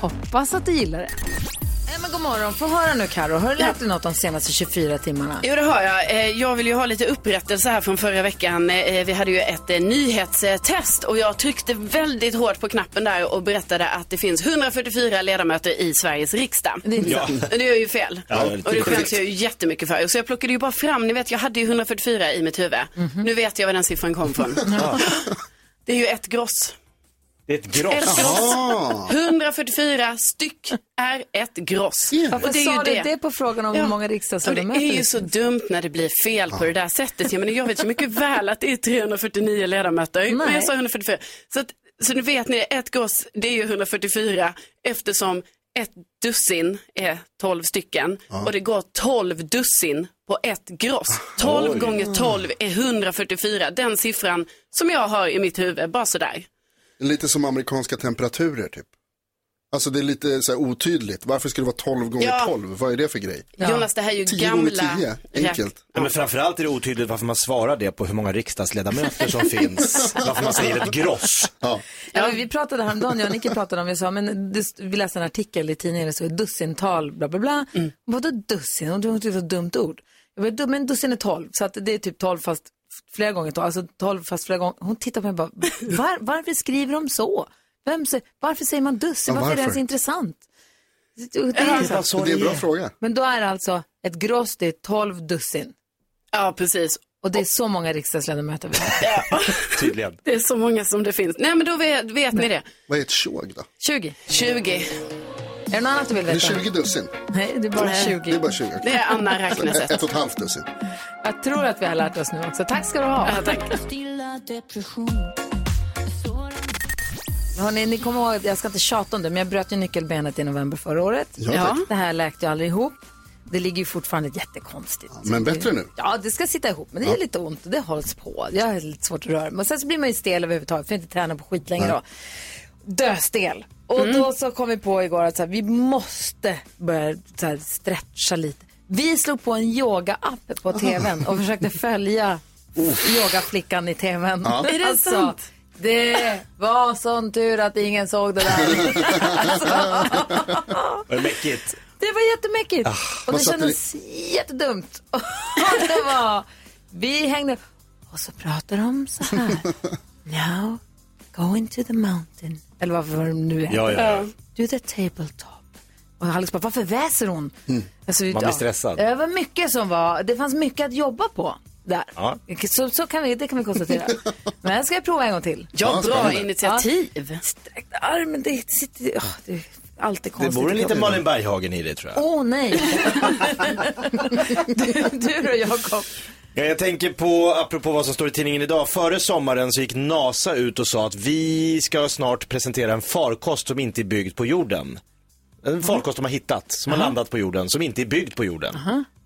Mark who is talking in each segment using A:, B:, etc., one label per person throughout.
A: Hoppas att du gillar det. Nej, men god morgon, få höra nu Karo. har du lärt dig något de senaste 24 timmarna?
B: Jo, det har jag. Eh, Jag vill ju ha lite upprättelse här från förra veckan. Eh, Vi hade ju ett eh, nyhetstest och jag tryckte väldigt hårt på knappen där och berättade att det finns 144 ledamöter i Sveriges riksdag.
A: Det är inte
B: ja. Men det är ju fel.
C: Ja, det är lite
B: och det
C: sjukt.
B: skäms jag ju jättemycket för. Så jag plockade ju bara fram, ni vet jag hade ju 144 i mitt huvud.
A: Mhm.
B: Nu vet jag var den siffran kom från. Det är ju ett gross.
C: Det är ett
B: Ett
C: gross.
B: gross. 144 styck är ett gross.
A: Varför sa du det på frågan om hur många riksdagsledamöter liksom-
B: Och det är ju
A: det
B: så dumt när det blir fel på det där sättet. Jag, menar, jag vet ju mycket väl att det är 349 ledamöter, men jag sa 144. Så, att, så nu vet ni, ett goss det är ju 144 eftersom ett dussin är 12 stycken och det går 12 dussin på ett gross.
D: Ah,
B: 12 gånger 12 är 144, den siffran som jag har i mitt huvud, bara sådär.
D: Lite som amerikanska temperaturer typ. Alltså det är lite så här otydligt. Varför skulle det vara 12 gånger
B: Ja.
D: 12? Vad är det för grej?
B: Jonas, det här är ju
D: 10 gånger
B: gamla...
D: 10,
B: räk-
D: enkelt.
C: Ja, men framförallt är det otydligt varför man svarar det på hur många riksdagsledamöter som finns. Varför man säger ett gross.
A: Ja, vi pratade häromdagen, jag och Nicky pratade om, vi sa, men det- vi läste en artikel i tidningen, det stod dussintal, bla bla bla. Vadå dussin? Hon tyckte det var typ ett dumt ord. Jag bara, "Du- men dussin är tolv, så att det är typ tolv fast flera gånger tolv, alltså tolv fast flera gånger. Hon tittar på mig och bara, var, varför skriver de så? Vem, sä- varför säger man dussin?
D: Ja,
A: varför? är det
D: varför?
A: ens intressant? Det är
B: Alltså,
A: så.
D: Men det är en bra fråga.
A: Men då är det alltså ett gross, det är tolv dussin.
B: Ja, precis.
A: Och det är så många riksdagsledamöter vi har.
C: Tydligen.
B: Det är så många som det finns. Nej, men då vet, vet ni det.
D: Vad är ett tjog då?
A: 20.
B: 20.
A: Är det något annat du vill
D: Det är
A: veta?
D: 20 dussin.
A: Nej, det är bara
D: Det
A: 20.
D: är bara 20. okej.
B: Det är Anna
D: Ett,
B: Räknesätt.
D: ett och ett halvt dussin.
A: Jag tror att vi har lärt oss nu också. Tack ska du ha.
B: Ja, tack.
A: Hörrni, ni kommer ihåg, jag ska inte tjata om det, men jag bröt ju nyckelbenet i november förra året.
B: Ja.
A: Det här läkte ju aldrig ihop. Det ligger ju fortfarande jättekonstigt.
D: Men bättre nu.
A: Ja, det ska sitta ihop, men det är lite ont och det hålls på. Jag har lite svårt att röra mig. Men sen så blir man ju stel överhuvudtaget, för jag inte träna på skit längre då. Döstel. Och
D: Mm.
A: då så kom vi på igår att så här, vi måste börja så här, stretcha lite. Vi slog på en yoga-app på tvn och försökte följa yogaflickan i tvn. Alltså,
D: Ja.
B: Är det sant?
A: Det var sån tur att ingen såg det där. Alltså,
C: Vad mäckigt.
A: Det var jättemäckigt. och det
D: Ah, vad satte
A: kändes jättedumt. Och det var, vi hängde och så pratar de så här. Now, go into the mountain. Eller vad var det nu är.
C: Ja, ja, ja.
A: Do the tabletop. Och Alex bara, varför väser hon? Alltså,
C: Mm. Man blir stressad.
A: Det var mycket som var, det fanns mycket att jobba på där.
C: Ja.
A: Så, så kan vi, det kan vi konstatera. Men ska jag prova en gång till.
B: Ja, bra
D: spännande.
B: initiativ.
A: Sträckt armen, det sitter, åh, det är alltid
C: Det
A: konstigt.
C: bor en liten Malin Berghagen i det tror jag.
A: Åh nej! du, du då Jakob?
C: Ja, jag tänker på, apropå vad som står i tidningen idag, före sommaren så gick NASA ut och sa att vi ska snart presentera en farkost som inte är byggd på jorden. En farkost de har hittat, som har landat på jorden, som inte är byggd på jorden.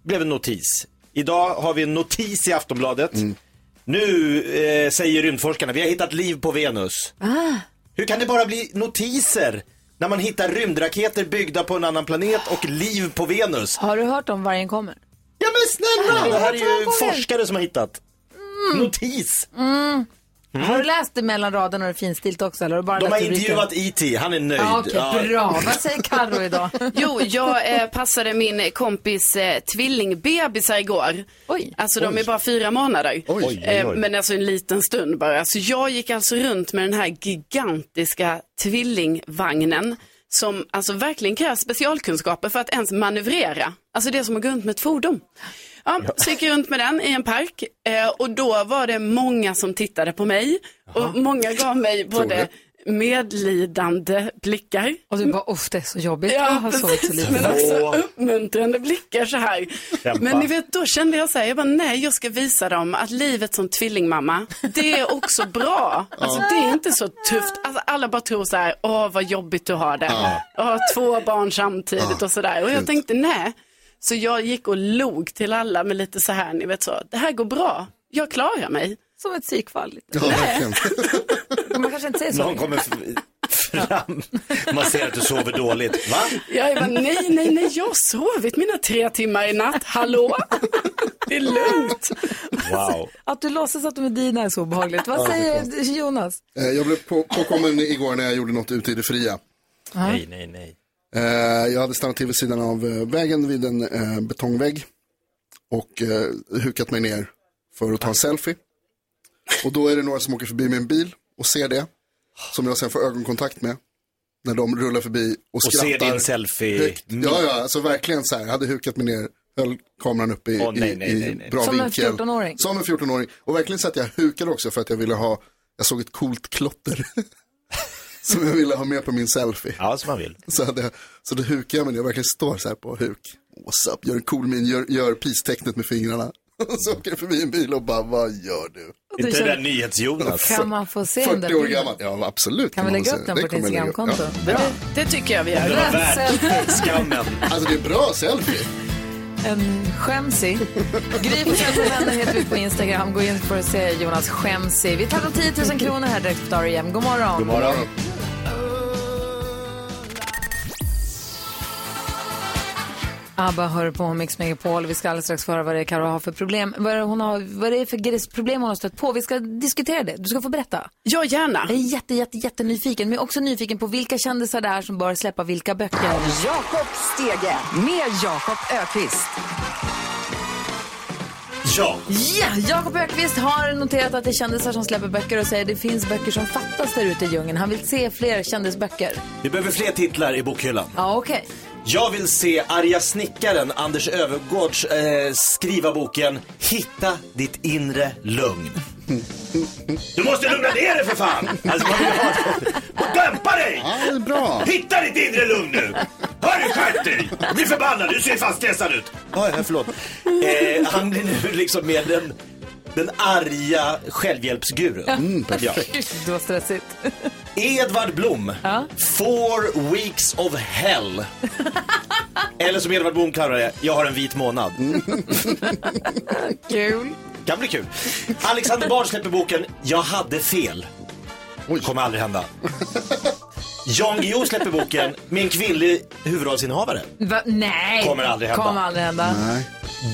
C: Blev en notis. Idag har vi en notis i Aftonbladet. Nu eh, säger rymdforskarna, vi har hittat liv på Venus. Hur kan det bara bli notiser när man hittar rymdraketer byggda på en annan planet och liv på Venus?
A: Har du hört om vargen kommer?
C: Ja men snälla! Det här är ju
A: två gånger.
C: forskare som har hittat. Mm. Notis!
A: Har du läst det mellan raderna och det finstilt också? Eller har du bara
C: Mm. De
A: läst
C: har
A: rubriken?
C: intervjuat E.T. Han är nöjd.
A: Ja, Okej,
C: Ja.
A: bra. Vad säger Carro idag?
B: Jo, jag eh, passade min kompis eh, tvillingbebisar igår.
A: Oj.
B: Alltså de är bara fyra månader.
C: Oj, oj, oj.
B: Eh, men alltså en liten stund bara. Så jag gick alltså runt med den här gigantiska tvillingvagnen. Som alltså verkligen krävs specialkunskaper för att ens manövrera. Alltså det är som att gå runt med ett fordon. Ja, så gick jag runt med den i en park eh, och då var det många som tittade på mig. Och många gav mig både medlidande blickar.
A: Och du bara, uff det är så jobbigt. jag
B: Ja,
A: har sovit så
B: precis.
A: lite.
B: Men också uppmuntrande blickar så här.
C: Kämpa.
B: Men ni vet, då kände jag så här, jag bara, nej, jag ska visa dem att livet som tvillingmamma, det är också bra. Alltså det är inte så tufft. Alltså, alla bara tror så här, åh vad jobbigt du har det. Jag har två barn samtidigt och så där. Och jag tänkte, nej. Så jag gick och log till alla med lite så här, ni vet så, det här går bra. Jag klarar mig.
A: Som ett psykfall. lite.
D: Ja, verkligen.
A: Man kanske inte säger så.
C: Någon kommer f- fram. Man ser att du sover dåligt. Va?
B: Jag bara, nej, nej, nej, jag har sovit mina tre timmar i natt. Hallå? Det är lugnt.
C: Wow.
A: Att du låtsas att de är dina är så obehagligt. Vad säger Jonas?
D: Eh, Jag blev på- påkommen igår när jag gjorde något ute i det fria.
C: Nej, nej, nej.
D: Eh, Jag hade stannat till vid sidan av eh, vägen vid en eh, betongvägg och eh, hukat mig ner för att ta en selfie. Och då är det några som åker förbi med en bil och ser det, som jag sen får ögonkontakt med, när de rullar förbi och
C: Och ser
D: skrattar.
C: din selfie. Mm.
D: högt. Ja, ja, alltså verkligen så här, hade hukat mig ner, höll kameran uppe i,
C: Åh, nej,
D: i-
C: nej,
D: i
C: nej, nej.
D: bra
A: Som en
D: vinkel.
A: 14-åring.
D: Som en 14-åring. Och verkligen så att jag hukade också för att jag ville ha, jag såg ett coolt klotter. som jag ville ha med på min selfie.
C: Ja, som man vill.
D: Så, hade jag, så då hukar jag mig ner och verkligen står så här på huk. What's up, gör en cool min, gör, gör peace-tecknet med fingrarna. Och så åker jag förbi en bil och bara, vad gör du?
A: Och du
C: Inte
A: känner-
C: den där nyhets-Jonas.
A: Kan man få se den där
D: 40 år
A: bilden?
D: gammal, ja absolut.
A: Kan vi
D: man
A: lägga
D: väl
A: upp
D: säga.
A: den
D: Det
A: på ditt
D: kommer jag lägga upp.
A: Instagramkonto?
B: Det, det tycker jag vi gör.
C: Det var värt
A: Rassel.
C: skammen.
D: Ja. Alltså det är bra selfie.
A: En skämsig. Gry Forssell med vänner heter vi på Instagram. Gå in för att se Jonas skämsig. Vi tar om 10 000 kronor här direkt på Dariem. God morgon.
C: God morgon.
A: Abba hör på Mix Megapol. Vi ska alldeles strax få höra vad det är Karo har för problem. Vad det, hon har, vad det är för gres- problem hon har stött på. Vi ska diskutera det. Du ska få berätta.
B: Ja, gärna.
A: Jag är jätte, jätte, jättenyfiken. Men jag är också nyfiken på vilka kändisar det är som bör släppa vilka böcker.
E: Jakob Stege med Jakob Ökvist.
C: Ja.
A: Ja, Jakob Ökvist har noterat att det är kändisar som släpper böcker och säger att det finns böcker som fattas där ute i djungeln. Han vill se fler kändisböcker.
C: Vi behöver fler titlar i bokhyllan.
A: Ja, okej.
C: Jag vill se arga snickaren Anders Övergårds eh, skriva boken Hitta ditt inre lugn. Du måste lugna ner dig för fan! Alltså man vill ha Dämpa dig!
D: Ja, det är bra.
C: Hitta ditt inre lugn nu! Hör du, skärp dig! Bli förbannad, du ser fan stressad ut. Ja, ja, förlåt. Eh, han blir nu liksom mer den, den arga självhjälpsgurun. Ja.
A: Det var stressigt.
C: Edvard Blom, Four Weeks of Hell. Eller som Edvard Blom kallar det, Jag har en vit månad.
A: Kul.
C: Kan bli kul. Alexander Bard släpper boken Jag hade fel. Kommer aldrig hända. Jan Guillou släpper boken Med en kvinnlig huvudrollsinnehavare.
A: Va? Nej.
C: Kommer aldrig hända.
A: Kommer aldrig hända.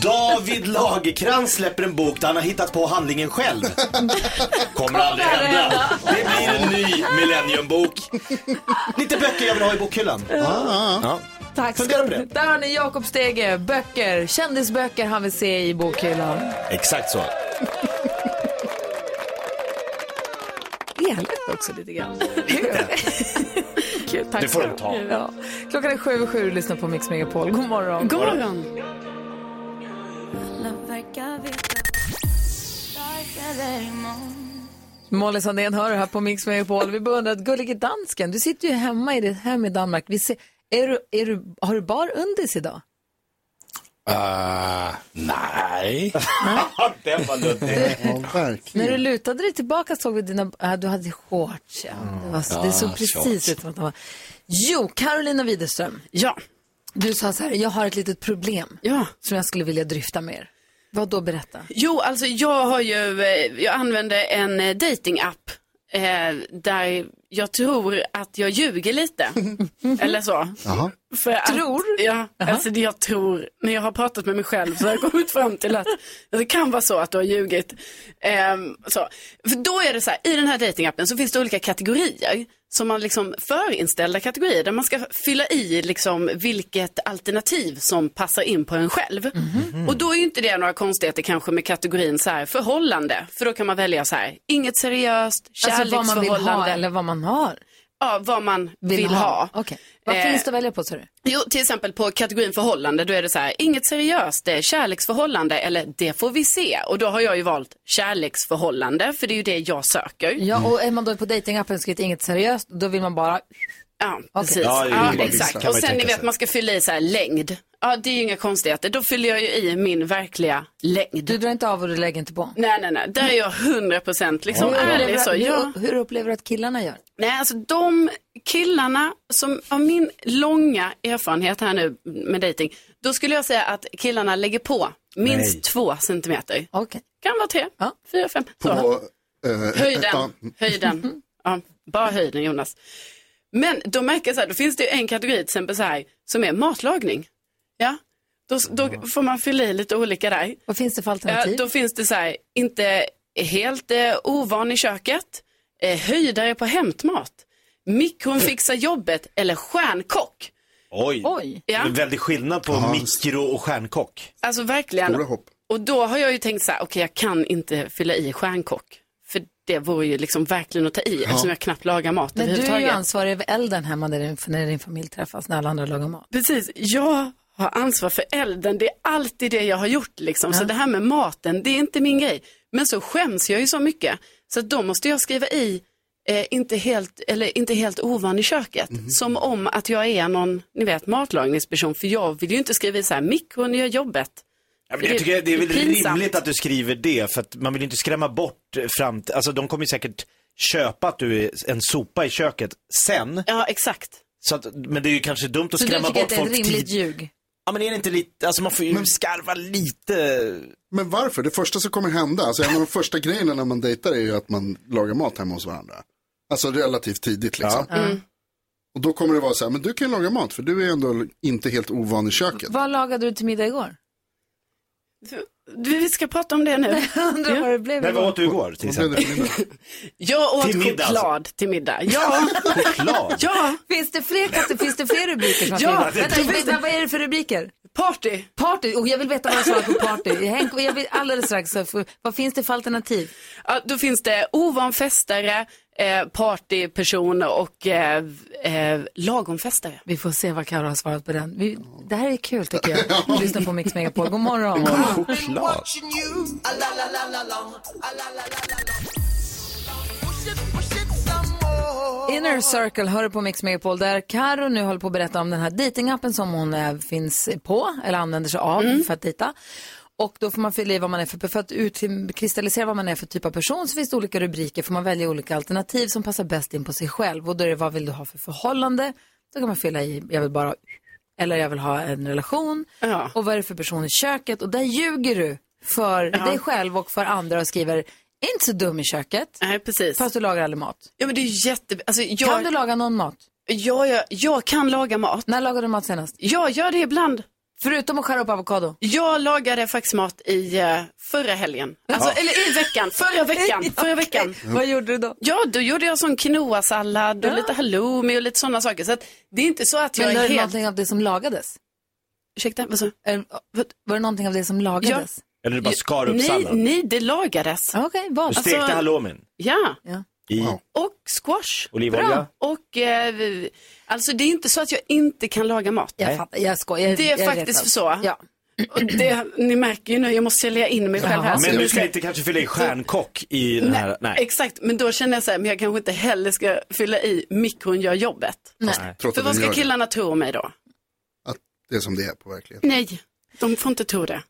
C: David Lagerkrans släpper en bok där han har hittat på handlingen själv. Kommer aldrig
A: aldrig
C: hända. Det blir en ny millenniumbok. Lite böcker jag vill ha i bokhyllan. Ja.
A: Tack
C: Fundera på det.
A: Där har ni Jakob Stege. Böcker. Kändisböcker han vill se i bokhyllan.
C: Exakt så.
A: Elakt också lite grann. Lite. Kul. Tack
C: Det får de ta.
A: Ja. Klockan är sju och sju och lyssnar på Mix Megapol. God morgon.
B: God morgon.
A: Molly Sandén hör det här på Mix Megapol. Vi beundrar att gullige dansken, du sitter ju hemma i ditt hem i Danmark. Vi ser, är du, är du, har du bar undis idag?
F: nej.
C: Den var luddig.
D: Ja, verkligen.
A: När du lutade dig tillbaka såg vi dina, äh, du hade shorts. Mm. Ja. Det, var, det såg precis ut som att de var. Jo, Carolina Widerström,
B: Ja,
A: du sa så här, jag har ett litet problem
B: ja.
A: som jag skulle vilja dryfta med er. Vad då berätta?
B: Jo, alltså jag har ju, eh, jag använde en eh, dating-app eh, där jag tror att jag ljuger lite. Eller så. För att,
A: Tror?
B: Ja, alltså det jag tror, när jag har pratat med mig själv så har jag kommit fram till att det kan vara så att du har ljugit. Ehm, så. För då är det så här, i den här datingappen så finns det olika kategorier. Som man liksom förinställda kategorier där man ska fylla i liksom vilket alternativ som passar in på en själv.
A: Mhm.
B: Och då är ju inte det några konstigheter kanske med kategorin så här förhållande. För då kan man välja så här, inget seriöst,
A: Alltså vad man
B: kärleksförhållande.
A: vill ha eller vad man har.
B: ja, vad man vill,
A: Vill,
B: ha.
A: Okej. Vad
B: Eh,
A: finns det att välja på, sa du?
B: Jo, till exempel på kategorin förhållande, då är det så här, inget seriöst, det är kärleksförhållande eller det får vi se. Och då har jag ju valt kärleksförhållande, för det är ju det jag söker.
A: Ja, och är man då på dejtingappen och skrivit inget seriöst, då vill man bara...
B: Ja, precis. Ja,
C: Ja, det är ju bara vissa.
B: exakt.
C: Kan
B: Och
C: man ju
B: sen ni
C: tänka
B: vet,
C: sig.
B: man ska fylla i så här längd. Ja, det är ju inga konstigheter. Då fyller jag ju i min verkliga längd.
A: Du drar inte av och du lägger inte på.
B: Nej, nej, nej. Där är jag 100 procent liksom ärlig. Så, ja.
A: hur, hur upplever du att killarna gör?
B: Nej, alltså de killarna som av min långa erfarenhet här nu med dating, då skulle jag säga att killarna lägger på minst två centimeter.
A: Okej.
B: Kan vara tre,
A: Ja.
B: fyra, fem. Så.
D: På, eh, ja,
B: Höjden, höjden. Ja, bara höjden Jonas. Men då märker jag så här, då finns det ju en kategori till exempel så här, som är matlagning. Ja, då, då får man fylla i lite olika där.
A: Vad finns det för
B: Ja,
A: alternativ?
B: då finns det så här, inte helt eh, ovan i köket, eh, höjdare på hämtmat, mikron fixar jobbet eller stjärnkock.
C: Oj.
A: Oj.
C: Det är
B: Ja.
C: väldigt skillnad på mikro och stjärnkock.
B: Alltså verkligen.
D: Stora hopp.
B: Och då har jag ju tänkt så här, okej jag kan inte fylla i stjärnkock. För det vore ju liksom verkligen att ta i eftersom jag knappt lagar mat
A: Men du är ju
B: överhuvudtaget.
A: ansvarig över elden hemma när din, när din familj träffas, när alla andra lagar mat.
B: Precis, jag har ansvar för elden. Det är alltid det jag har gjort liksom. Så det här med maten, det är inte min grej. Men så skäms jag ju så mycket. Så att då måste jag skriva i, eh, inte, helt, eller, inte helt ovan i köket. Som om att jag är någon, ni vet, matlagningsperson. För jag vill ju inte skriva i så här, mikron gör jobbet.
C: Ja, men jag tycker det är väl
B: Det är pinsamt.
C: rimligt att du skriver det, för att man vill ju inte skrämma bort eh, fram Alltså de kommer ju säkert köpa att du är en sopa i köket sen.
B: Ja, exakt.
C: Så att, men det är ju kanske dumt att
A: Så du
C: skrämma
A: tycker att
C: bort
A: det är ett
C: folk
A: rimligt
C: tid.
A: ljug?
C: Ja men är det inte lite, alltså man får ju skarva lite.
D: Men varför? Det första som kommer hända, alltså en av de första grejerna när man dejtar är ju att man lagar mat hemma hos varandra. Alltså relativt tidigt liksom. Och då kommer det vara så här, men du kan ju laga mat för du är ju ändå inte helt ovan i köket.
A: Vad lagade du till middag igår?
B: Du, vi ska prata om det nu.
A: Undrar vad det blev
C: Nej vad
A: igår.
C: åt du igår till
D: Vad blev det
C: exempel?
D: för middag?
B: Jag åt
C: Till middag, alltså.
B: choklad till middag. Ja,
C: Choklad?
B: ja,
A: Finns det fler, katte- finns det fler rubriker? som har
B: Ja,
A: skrivit?
B: det-
A: vänta,
B: det-
A: vänta, vad är det för rubriker?
B: party.
A: Party, och jag vill veta vad jag svarar på party. Henk, jag vill alldeles strax, så får- vad finns det för alternativ?
B: Ja, då finns det ovan festare, eh, partyperson och eh, eh, lagom festare.
A: Vi får se vad Karo har svarat på den. Vi, det här är kul tycker jag. Lyssna på Mix Megapol. God morgon.
C: Choklad?
A: Inner Circle hör du på Mix Megapol där Karo nu håller på att berätta om den här datingappen som hon eh, finns på eller använder sig av
B: Mm.
A: för att dejta. Och då får man fylla i vad man är för, för att utkristallisera vad man är för typ av person så finns det olika rubriker, får man välja olika alternativ som passar bäst in på sig själv. Och då är det vad vill du ha för förhållande? Då kan man fylla i, jag vill bara, eller jag vill ha en relation.
B: Ja.
A: Och vad är det för person i köket? Och där ljuger du för dig själv och för andra och skriver, inte så dum i köket,
B: Nej, precis.
A: fast du lagar aldrig mat.
B: Ja, men det är jätte... Alltså, jag,
A: Kan du laga någon mat?
B: ja, ja, jag kan laga mat.
A: När lagade du mat senast?
B: Jag gör det ibland.
A: Förutom att skära upp avokado.
B: Jag lagade faktiskt mat i eh, förra helgen. Alltså, Eller i veckan. Förra veckan. Förra veckan.
A: Vad gjorde du då?
B: Ja, då gjorde jag sån quinoa-sallad och lite halloumi och lite sådana saker. Så att, det är inte så att jag
A: Men var
B: är
A: det
B: helt...
A: någonting av det som lagades?
B: Ursäkta, vad sa du?
A: Eller, vad- Var det någonting av det som lagades?
C: Eller du bara skar upp
B: Nej,
C: salladen?
B: nej, det lagades.
A: Ja. Okej, vad?
C: Du stekte
B: Alltså-
C: halloumin
B: Ja,
C: i
D: Wow.
B: och squash.
C: olivolja?
B: Och eh, vi- alltså det är inte så att jag inte kan laga mat.
A: jag fattar, jag skojar. Jag-
B: Det är
A: jag
B: faktiskt
A: retad.
B: så.
A: Ja.
B: Och det, ni märker ju nu, jag måste sälja in mig själv här.
A: Ja.
B: så
C: Men
B: Alltså, jag
C: du ska
B: ska-
C: inte kanske fylla i stjärnkock i den här? Nej.
B: Exakt, men då känner jag så här, men jag kanske inte heller ska fylla i mikron gör jobbet.
D: Trots
B: För
D: att
B: vad
D: den
B: ska
D: gör det.
B: killarna tro om mig då?
D: Att det är som det är på verkligheten.
B: Nej, de får inte tro det.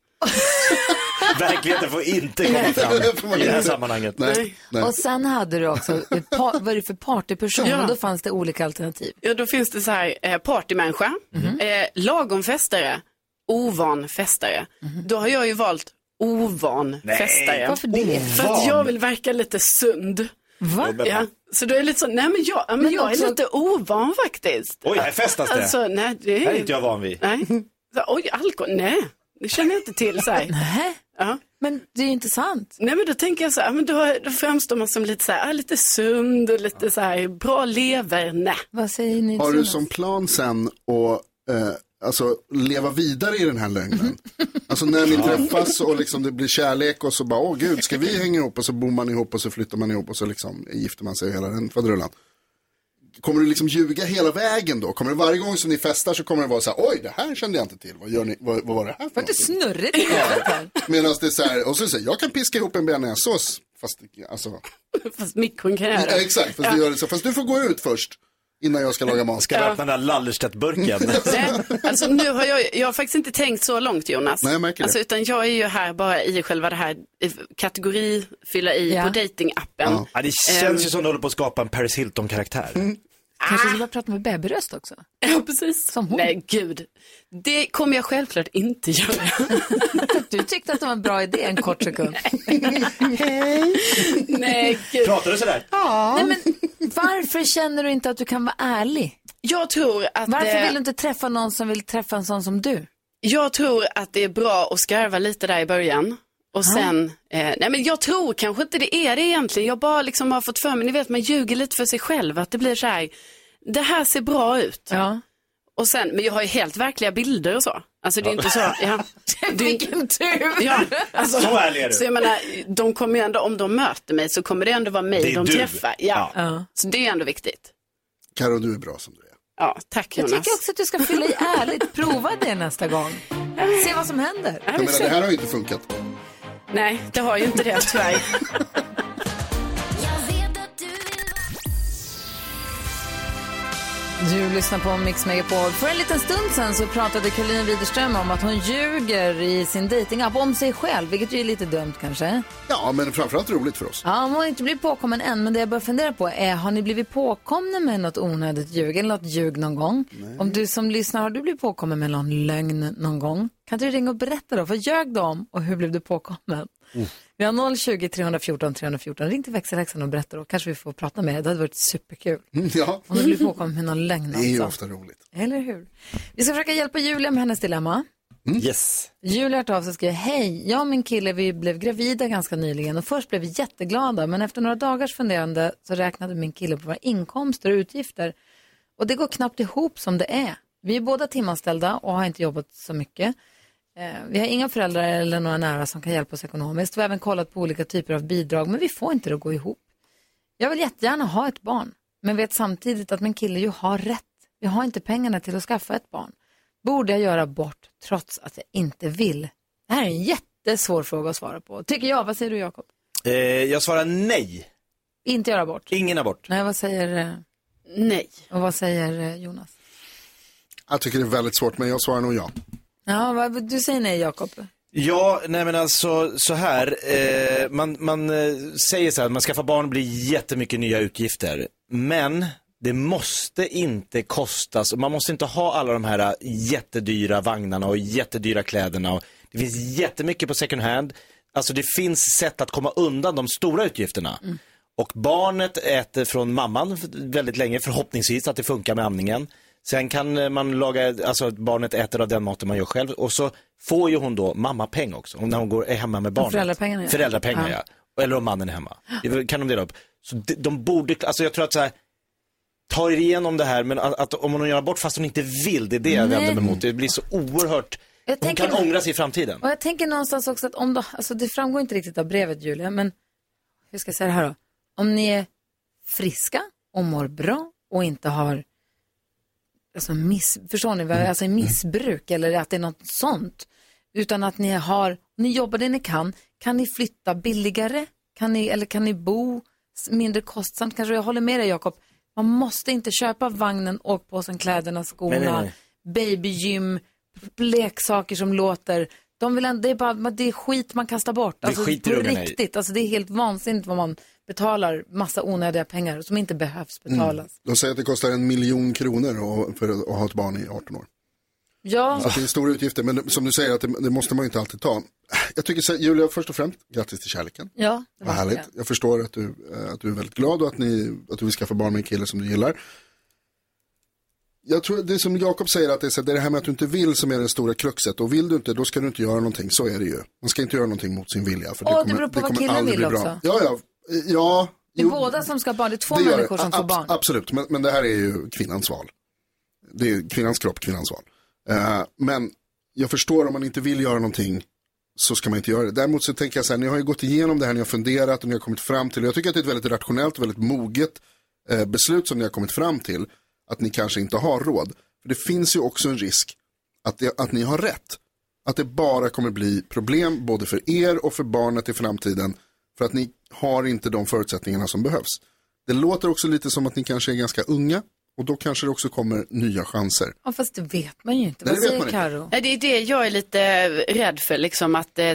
C: Verkligheten får inte komma
D: Det får
C: fram
D: man
C: i det här
D: inte.
C: sammanhanget.
B: Mm.
D: Nej, nej.
A: Och sen hade du också, ett par, vad är det för partyperson?
B: Ja.
A: Och då fanns det olika alternativ.
B: Ja, då finns det så här, eh, partymänniska, eh, lagom festare, ovan festare. Då har jag ju valt ovan festare.
A: Varför det?
B: För att jag vill verka lite sund.
A: Va?
B: Ja, så då är det lite så, nej men jag, ja, men
A: Men
B: jag
A: också-
B: är lite ovan faktiskt.
C: Oj, här festas det.
B: Alltså, nej, det
C: Det här
B: är
C: är inte jag van vid.
B: Nej. Så, oj, alkohol, nej, det känner jag inte till. Så här.
A: Nähä?
B: Ja.
A: Men det är ju inte sant.
B: Nej men då tänker jag så här, men då, då framstår man som lite så här, ah, lite sund och lite så här, bra lever, nej.
A: Vad säger ni?
D: Har du
A: Jonas?
D: som plan sen att eh, alltså, leva vidare i den här lögnen? Alltså när ni träffas och liksom det blir kärlek och så bara, åh gud, ska vi hänga ihop? Och så bor man ihop och så flyttar man ihop och så liksom gifter man sig och hela den faderullan. Kommer du liksom ljuga hela vägen då? Kommer det varje gång som ni festar så kommer det vara så här, oj det här kände jag inte till, vad, gör ni, vad, vad var det här för
A: Vart det
D: någonting?"
A: snurrigt i huvudet här?
D: Medan det är så här, och så säger jag kan piska ihop en bearnaisesås. Fast, alltså,
B: Fast mikron kan göra
D: ja,
B: det.
D: exakt, fast, du gör det så. fast du får gå ut först innan jag ska laga mat.
C: Ska du öppna den där Lallerstedt-burken?
B: Nej, alltså nu har jag, jag har faktiskt inte tänkt så långt Jonas.
D: Nej, jag märker det.
B: Alltså, utan jag är ju här bara i själva det här eh, kategori, fylla i
A: Ja.
B: på datingappen.
D: Ja.
C: Ja, det känns ju som du håller på att skapa en Paris Hilton-karaktär.
A: Kanske skulle jag prata med babyröst också?
B: Ja, precis.
A: Som hon.
B: Nej, gud. Det kommer jag självklart inte göra.
A: Du tyckte att det var en bra idé en kort sekund.
B: Nej, gud.
C: Pratar du sådär?
A: Nej, men varför känner du inte att du kan vara ärlig?
B: Jag tror att
A: Varför
B: det...
A: vill du inte träffa någon som vill träffa en sån som du?
B: Jag tror att det är bra att skarva lite där i början. Och sen, eh, nej men jag tror kanske inte det är det egentligen. Jag bara liksom har fått för mig, ni vet man ljuger lite för sig själv. Att det blir så här, det här ser bra ut.
A: Ja.
B: Och sen, men jag har ju helt verkliga bilder och så. Alltså det är ju inte så, ja. Det är, ju-
A: Vilken tur!
B: ja alltså,
C: Så ärlig är du.
B: Så jag menar, de kommer ju ändå, om de möter mig så kommer det ändå vara mig
C: Det är
B: de
C: du.
B: träffar. Ja.
A: Ja.
B: Så det är ändå viktigt.
D: Karo, du är bra som du är.
B: Ja, tack
A: Jag
B: Jonas.
A: tycker också att du ska fylla i ärligt. Prova det nästa gång. Se vad som händer.
B: Ja,
D: Jag
B: men
D: menar,
B: så-
D: det här har ju inte funkat.
B: Nej, det har ju inte det tyvärr.
A: Du lyssnar på Mix Megapol. För en liten stund sen så pratade Caroline Widerström om att hon ljuger i sin dejtingapp om sig själv, vilket ju är lite dumt kanske.
D: Ja, men framförallt roligt för oss.
A: Ja, hon har inte blivit påkommen än, men det jag börjar fundera på är, har ni blivit påkomna med något onödigt ljug eller något ljug någon gång? Om du som lyssnar, har du blivit påkommen med någon lögn någon gång? Kan inte du ringa och berätta då? Vad ljög du om och hur blev du påkommen?
D: Mm.
A: Vi har 020 314 314. Ring till växelhäxan och berätta då. Kanske vi får prata med er. Det hade varit superkul.
D: Mm, Ja,
A: Om du blir påkommen med någon lögn
D: det är ju
A: alltså.
D: ofta roligt.
A: Eller hur? Vi ska försöka hjälpa Julia med hennes dilemma.
B: Mm.
C: Yes.
A: Julia har hört av sig och skriver, hej, jag och min kille vi blev gravida ganska nyligen och först blev vi jätteglada men efter några dagars funderande så räknade min kille på våra inkomster och utgifter och det går knappt ihop som det är. Vi är båda timanställda och har inte jobbat så mycket. Eh, Vi har inga föräldrar eller några nära som kan hjälpa oss ekonomiskt. Vi har även kollat på olika typer av bidrag men vi får inte det att gå ihop. Jag vill jättegärna ha ett barn, men vet samtidigt att min kille ju har rätt. Vi har inte pengarna till att skaffa ett barn. Borde jag göra bort trots att jag inte vill? Det här är en jättesvår fråga att svara på. Tycker jag. Vad säger du Jakob?
C: Eh, jag svarar nej.
A: Inte göra bort.
C: Ingen abort.
A: Nej, vad säger, eh,
B: Nej.
A: och vad säger eh, Jonas?
D: Jag tycker det är väldigt svårt, men jag svarar nog ja.
A: Ja, vad, du säger nej Jakob.
C: Ja, nej men alltså så här. Eh, man man eh, säger så här, man skaffar barn blir jättemycket nya utgifter. Men det måste inte kostas, och man måste inte ha alla de här eh, jättedyra vagnarna och jättedyra kläderna. Och det finns jättemycket på second hand. Alltså det finns sätt att komma undan de stora utgifterna. Och barnet äter från mamman väldigt länge, förhoppningsvis att det funkar med amningen. Sen kan eh, man laga, alltså att barnet äter av den maten man gör själv. Och så får ju hon då mammapeng också, om när hon går, är hemma med barnet.
A: föräldrapengarna, ja.
C: Föräldrapengar, ja. Eller om mannen är hemma. Det Kan de dela upp. Så de, de borde, alltså jag tror att så här, tar er igenom det här, men att, att om hon gör abort fast hon inte vill, det är det jag
A: Nej.
C: vänder mig mot. Det blir så oerhört,
A: Jag
C: hon
A: tänker-
C: kan ångra sig i framtiden.
A: Och jag tänker någonstans också att om då, alltså det framgår inte riktigt av brevet Julia, men hur ska jag säga det här då? Om ni är friska och mår bra och inte har, alltså miss, förstår ni, vad jag-
C: Mm.
A: alltså missbruk eller att det är något sånt, utan att ni har, ni jobbar det ni kan, kan ni flytta billigare? Kan ni, eller kan ni bo s- mindre kostsamt? Kanske jag håller med dig Jakob, man måste inte köpa vagnen, åkpåsen, kläderna, skorna,
C: Nej, nej, nej.
A: babygym, leksaker som låter. De vill ändå, det, är bara, men det är skit man kastar bort.
C: Det skiter
A: på
C: ungarna i.
A: riktigt. Alltså, det är helt vansinnigt vad man betalar massa onödiga pengar som inte behövs betalas.
C: Mm.
D: De säger att det kostar en miljon kronor och- för att ha ett barn i 18 år. Så
A: Ja,
D: att det är stora utgifter, men det- som du säger, att det, det måste man ju inte alltid ta. Jag tycker så här, Julia, först och främst, grattis till kärleken.
A: ja. det
D: Vad
A: var
D: härligt.
A: det.
D: Jag förstår att du, eh, att du är väldigt glad och att, ni, att du vill skaffa barn med en kille som du gillar. Jag tror det är som Jakob säger, att det är, så, här, det är det här med att du inte vill som är det stora kruxet. Och vill du inte, då ska du inte göra någonting. Så är det ju. Man ska inte göra någonting mot sin vilja. För
A: Åh, det beror på vad killen
D: aldrig
A: vill
D: bli
A: också.
D: Ja, ja. eh, ja
A: Det är båda som ska ha barn, det är två
D: det gör
A: människor
D: det.
A: som får
D: Ab-
A: barn.
D: Absolut, men, men det här är ju kvinnans val. Det är ju kvinnans kropp, kvinnans val. Eh, men jag förstår om man inte vill göra någonting så ska man inte göra det. Däremot så tänker jag så här, ni har ju gått igenom det här, ni har funderat och ni har kommit fram till, och jag tycker att det är ett väldigt rationellt, väldigt moget eh, beslut som ni har kommit fram till att ni kanske inte har råd. För det finns ju också en risk att, det, att ni har rätt. Att det bara kommer bli problem både för er och för barnet i framtiden för att ni har inte de förutsättningarna som behövs. Det låter också lite som att ni kanske är ganska unga och då kanske det också kommer nya chanser.
A: Ja, fast det vet man ju inte.
D: Nej,
A: Vad
D: det vet
A: säger
D: man inte.
A: Karo?
B: Nej, det är det jag är lite rädd för, liksom, att eh,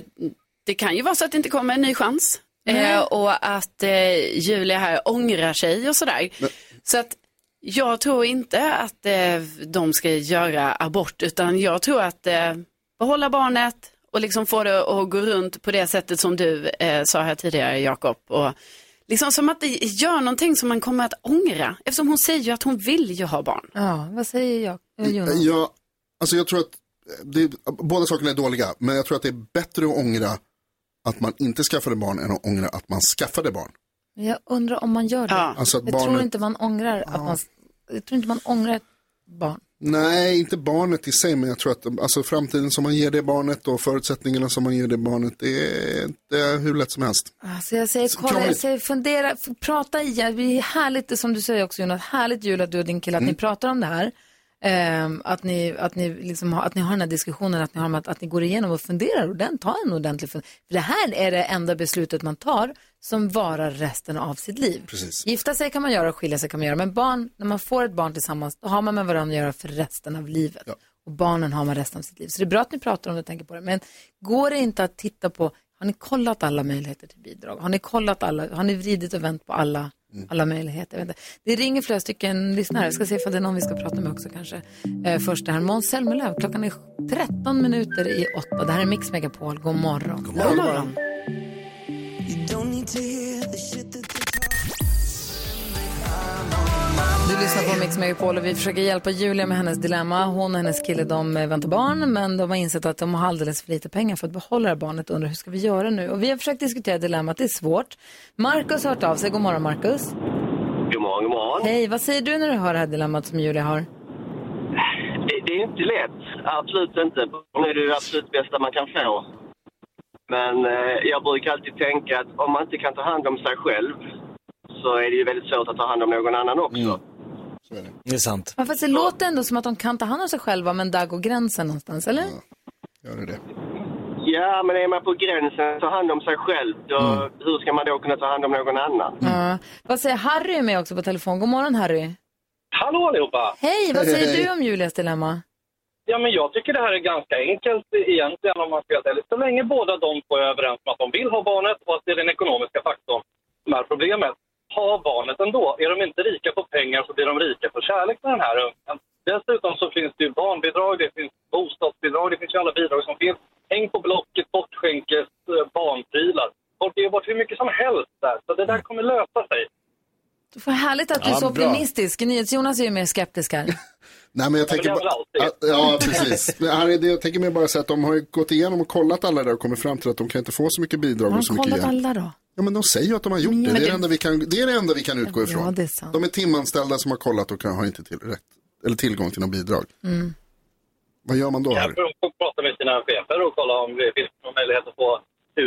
B: det kan ju vara så att det inte kommer en ny chans. Eh, och att eh, Julia här ångrar sig och sådär. Så att jag tror inte att eh, de ska göra abort, utan jag tror att eh, behålla barnet och liksom få det att gå runt på det sättet som du eh, sa här tidigare, Jakob. Och Liksom som att det gör någonting som man kommer att ångra. Eftersom hon säger ju att hon vill ju ha barn.
A: Ja, vad säger jag? Eh, Jonas?
D: Ja, alltså jag tror att det, båda sakerna är dåliga, men jag tror att det är bättre att ångra att man inte skaffade barn än att ångra att man skaffade barn.
A: Men Jag undrar om man gör det.
B: Ja.
D: Alltså att
A: jag tror
D: barnet-
A: inte man ångrar att man... Jag tror inte man ångrar ett barn.
D: Nej, inte barnet i sig, men jag tror att alltså, framtiden som man ger det barnet och förutsättningarna som man ger det barnet, det är inte hur lätt som helst.
A: Alltså jag säger, kolla, jag
D: krångligt.
A: säger fundera, f- prata igen. Det är härligt, det som du säger också Jonas, härligt Julia, att du och din kille, att
D: Mm.
A: ni pratar om det här. Ehm, att, ni, att, ni liksom har, att ni har den här diskussionen, att ni, har, de här- att ni går igenom och funderar och den tar en ordentlig fun- För det här är det enda beslutet man tar som varar resten av sitt liv.
D: Precis.
A: Gifta sig kan man göra och skilja sig kan man göra, men barn, när man får ett barn tillsammans, då har man med varandra att göra för resten av livet. Och barnen har man resten av sitt liv. Så det är bra att ni pratar om det och tänker på det. Men går det inte att titta på, har ni kollat alla möjligheter till bidrag? Har ni kollat alla, har ni vridit och vänt på alla, alla möjligheter? Jag vet inte. Det ringer flera stycken lyssnare, jag ska se ifall det är någon vi ska prata med också kanske. Eh, först det här, Måns Zelmerlöw, klockan är 13 minuter i 8. Det här är Mix Megapol, god morgon. God morgon. Du lyssnar på Mix Megapol och vi försöker hjälpa Julia med hennes dilemma. Hon och hennes kille de eh, väntar barn men de har insett att de har alldeles för lite pengar för att behålla det här barnet och undrar hur ska vi göra nu? Och vi har försökt diskutera dilemmat, det är svårt. Markus har hört av sig, god morgon Markus.
F: God morgon, god morgon.
A: Hej, vad säger du när du hör det här dilemmat som Julia har?
F: Det, det är inte lätt. Absolut inte. Barn är det ju absolut bästa man kan få. Men eh, jag brukar alltid tänka att om man inte kan ta hand om sig själv så är det ju väldigt svårt att ta hand om någon annan också.
C: Det är sant.
A: Ja, fast det låter ändå som att de kan ta hand om sig själva men där går gränsen någonstans, eller?
D: Gör det det?
F: Ja, men är man på gränsen att ta hand om sig själv, då, hur ska man då kunna ta hand om någon annan?
A: Ja. Vad säger Harry är med också på telefon? God morgon Harry.
F: Hallå allihopa!
A: Hej, vad säger
D: Hej, hej.
A: du om Julias dilemma?
F: Ja, men jag tycker det här är ganska enkelt egentligen om man ska vara ärlig. Så länge båda de två är överens om att de vill ha barnet och att det är den ekonomiska faktorn som är problemet. Ha barnet ändå. Är de inte rika på pengar så blir de rika på kärlek med den här ungen. Dessutom så finns det ju barnbidrag, det finns bostadsbidrag, det finns ju alla bidrag som finns. Häng på Blocket, bortskänkes, eh, barnprylar. Folk ger bort hur mycket som helst där, så det där kommer lösa sig.
A: Det var härligt att du är
C: Ja,
A: så
C: bra.
A: optimistisk. NyhetsJonas är ju mer skeptisk här.
D: Nej, men jag tänker
F: det är
D: bara...
F: väl
D: Ja,
F: alltid.
D: ja, precis. Men Harry, det, jag tänker mer bara så att de har ju gått igenom och kollat alla där och kommit fram till att de kan inte få så mycket bidrag
A: Har
D: och så
A: de
D: mycket
A: kollat
D: hjälp.
A: alla då?
D: Ja, men de säger ju att de har gjort det. Det är det, enda vi kan, det är det enda vi kan utgå ifrån.
A: det är sant.
D: De är timanställda som har kollat och kan, har inte till, rätt, eller tillgång till något bidrag.
A: Mm.
D: Vad gör man då?
F: Ja,
D: Harry?
F: för de får prata med sina chefer och kolla om det finns någon möjlighet att få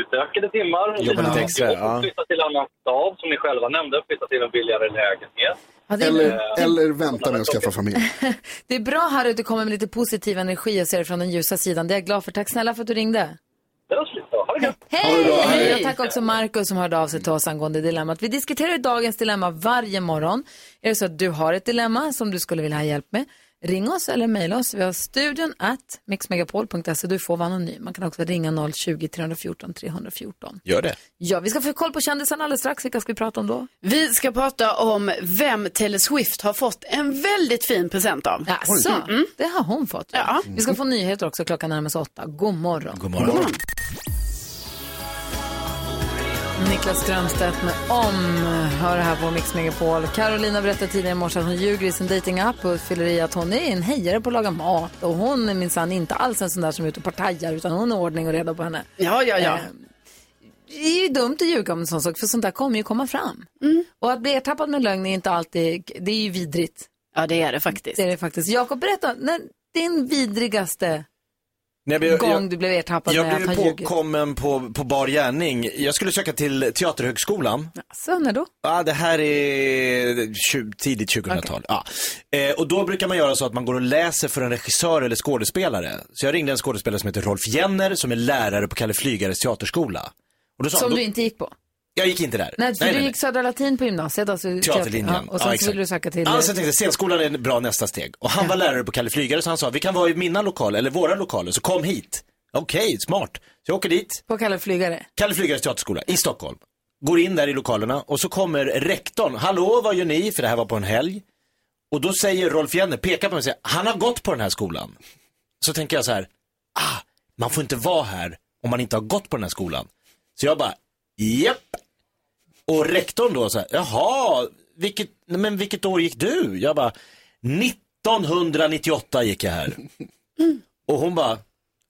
F: utökade timmar.
C: Jobba lite extra, ja.
F: Flytta till annan stad, som ni själva nämnde. Flytta till en billigare lägenhet.
A: Ja, det, är,
D: Eller, eller vänta med att skaffa familj.
A: det är bra Harry att du kommer med lite positiv energi och ser det från den ljusa sidan. Det är jag glad för. Tack snälla för att du ringde.
F: Det var slut då. Ha det gött!
A: Hej! Hej! Och tack också Markus som hörde av sig till oss angående dilemmat. Vi diskuterar ju dagens dilemma varje morgon. Är det så att du har ett dilemma som du skulle vilja ha hjälp med, ring oss eller mejla oss. Vi har studion at mixmegapol.se. Du får vara anonym. Man kan också ringa 020-314 314.
C: Gör det.
A: Ja, vi ska få koll på kändisarna alldeles strax. Vilka ska vi prata om då?
B: Vi ska prata om vem Taylor Swift har fått en väldigt fin present av.
A: Alltså, det har hon fått. ja.
B: Ja.
A: Vi ska få nyheter också klockan närmar sig åtta. God morgon.
C: God morgon.
A: Niklas Strömstedt med Om hör här på Mix Megapol. Carolina berättade tidigare i morse att hon ljuger i sin datingapp och fyller i att hon är en hejare på att laga mat och hon är minsann inte alls en sån där som är ute och partajar utan hon är ordning och reda på henne. Eh,
B: Ja, ja, ja.
A: Det är ju dumt att ljuga om en sån sak för sånt där kommer ju komma fram.
C: Mm.
A: Och att bli ertappad med lögn är inte alltid, det är ju vidrigt.
B: Ja, det är det faktiskt.
A: Det är det faktiskt. Jakob, berätta, när, din vidrigaste
C: Nej, men jag-
A: gång
C: jag-
A: du blev ertappad
C: Jag
A: med att
C: blev
A: ha ljugit?
C: påkommen på, på bar gärning. Jag skulle söka till Teaterhögskolan.
A: Så när då?
C: Ja, det här är tju- tidigt 2000-tal. Ja. Eh, och då brukar man göra så att man går och läser för en regissör eller skådespelare. Så jag ringde en skådespelare som heter Rolf Jenner som är lärare på Kalle Flygares teaterskola. Och då sa
A: Som
C: han,
A: du
C: då,
A: inte gick på?
C: jag gick inte där.
A: Nej, för du gick Södra Latin på gymnasiet. Alltså,
C: Teaterlinjen.
A: Ja, och sen så
C: exakt.
A: ville du söka till...
C: Ja, sen tänkte jag, scenskolan är en bra nästa steg. Och han var lärare på Kalle Flygare så han sa, vi kan vara i mina lokaler, eller våra lokaler, så kom hit. Okej, smart. Så jag åker dit,
A: På Kalle Flygare.
C: Kalle Flygares teaterskola i Stockholm. Går in där i lokalerna och så kommer rektorn. Hallå, vad gör ni? För det här var på en helg. Och då säger Rolf Jenner, pekar på mig och säger, han har gått på den här skolan. Så tänker jag så här, ah, man får inte vara här om man inte har gått på den här skolan. Så jag bara, japp. Och rektorn då så här, jaha, vilket, nej, men vilket år gick du? Jag bara, 1998 gick jag här.
A: Mm.
C: Och hon bara,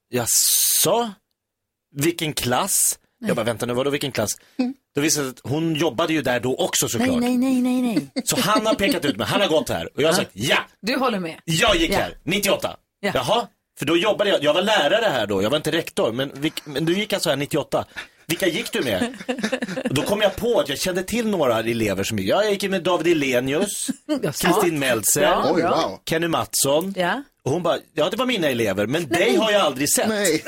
C: jaså? Vilken klass? Jag bara, vänta nu, vadå vilken klass? Då visade det sig att hon jobbade ju där då också såklart.
A: Mm. Nej, nej, nej, nej.
C: Så han har pekat ut mig, han har gått här. Och jag har sagt, ja,
A: Du håller med.
C: jag gick
A: Ja.
C: här, 98.
A: Ja.
C: Jaha, för då jobbade jag, jag var lärare här då, jag var inte rektor, men, vilk, men du gick alltså här 98. Vilka gick du med? Och då kom jag på att jag kände till några elever som, ja, jag gick med David Elenius,
A: Jag sa.
C: Kristin Meltzer,
A: Ja,
D: Oj, wow.
C: Kenny Mattsson.
A: Ja.
C: Och hon bara, ja det var mina elever, men dig har jag aldrig sett.
D: Nej,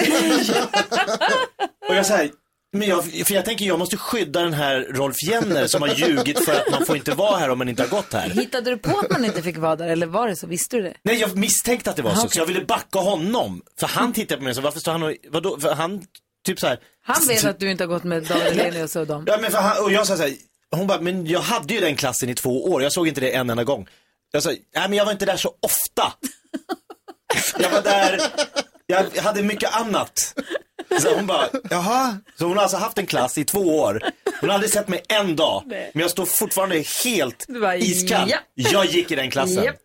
C: Och jag säger, men jag, för jag tänker jag måste skydda den här Rolf Jenner som har ljugit för att man får inte vara här om man inte har gått här.
A: Hittade du på att man inte fick vara där eller var det så? Visste du det?
C: Nej, jag misstänkte att det var så, så jag ville backa honom. För
A: Mm.
C: han tittade på mig och sa, varför står han och, vadå, för han, typ så här.
A: Han vet att du inte har gått med David Hellenius och dem.
C: Ja, men för han, och jag sa så här, hon bara, men jag hade ju den klassen i två år, jag såg inte det en enda gång. Jag sa, nej men jag var inte där så ofta. jag var där, jag hade mycket annat. Så hon bara, jaha? Så hon har alltså haft en klass i två år. Hon har aldrig sett mig en dag, men jag står fortfarande helt
A: Du bara,
C: iskall.
A: ja.
C: Jag gick i den klassen.
A: Japp.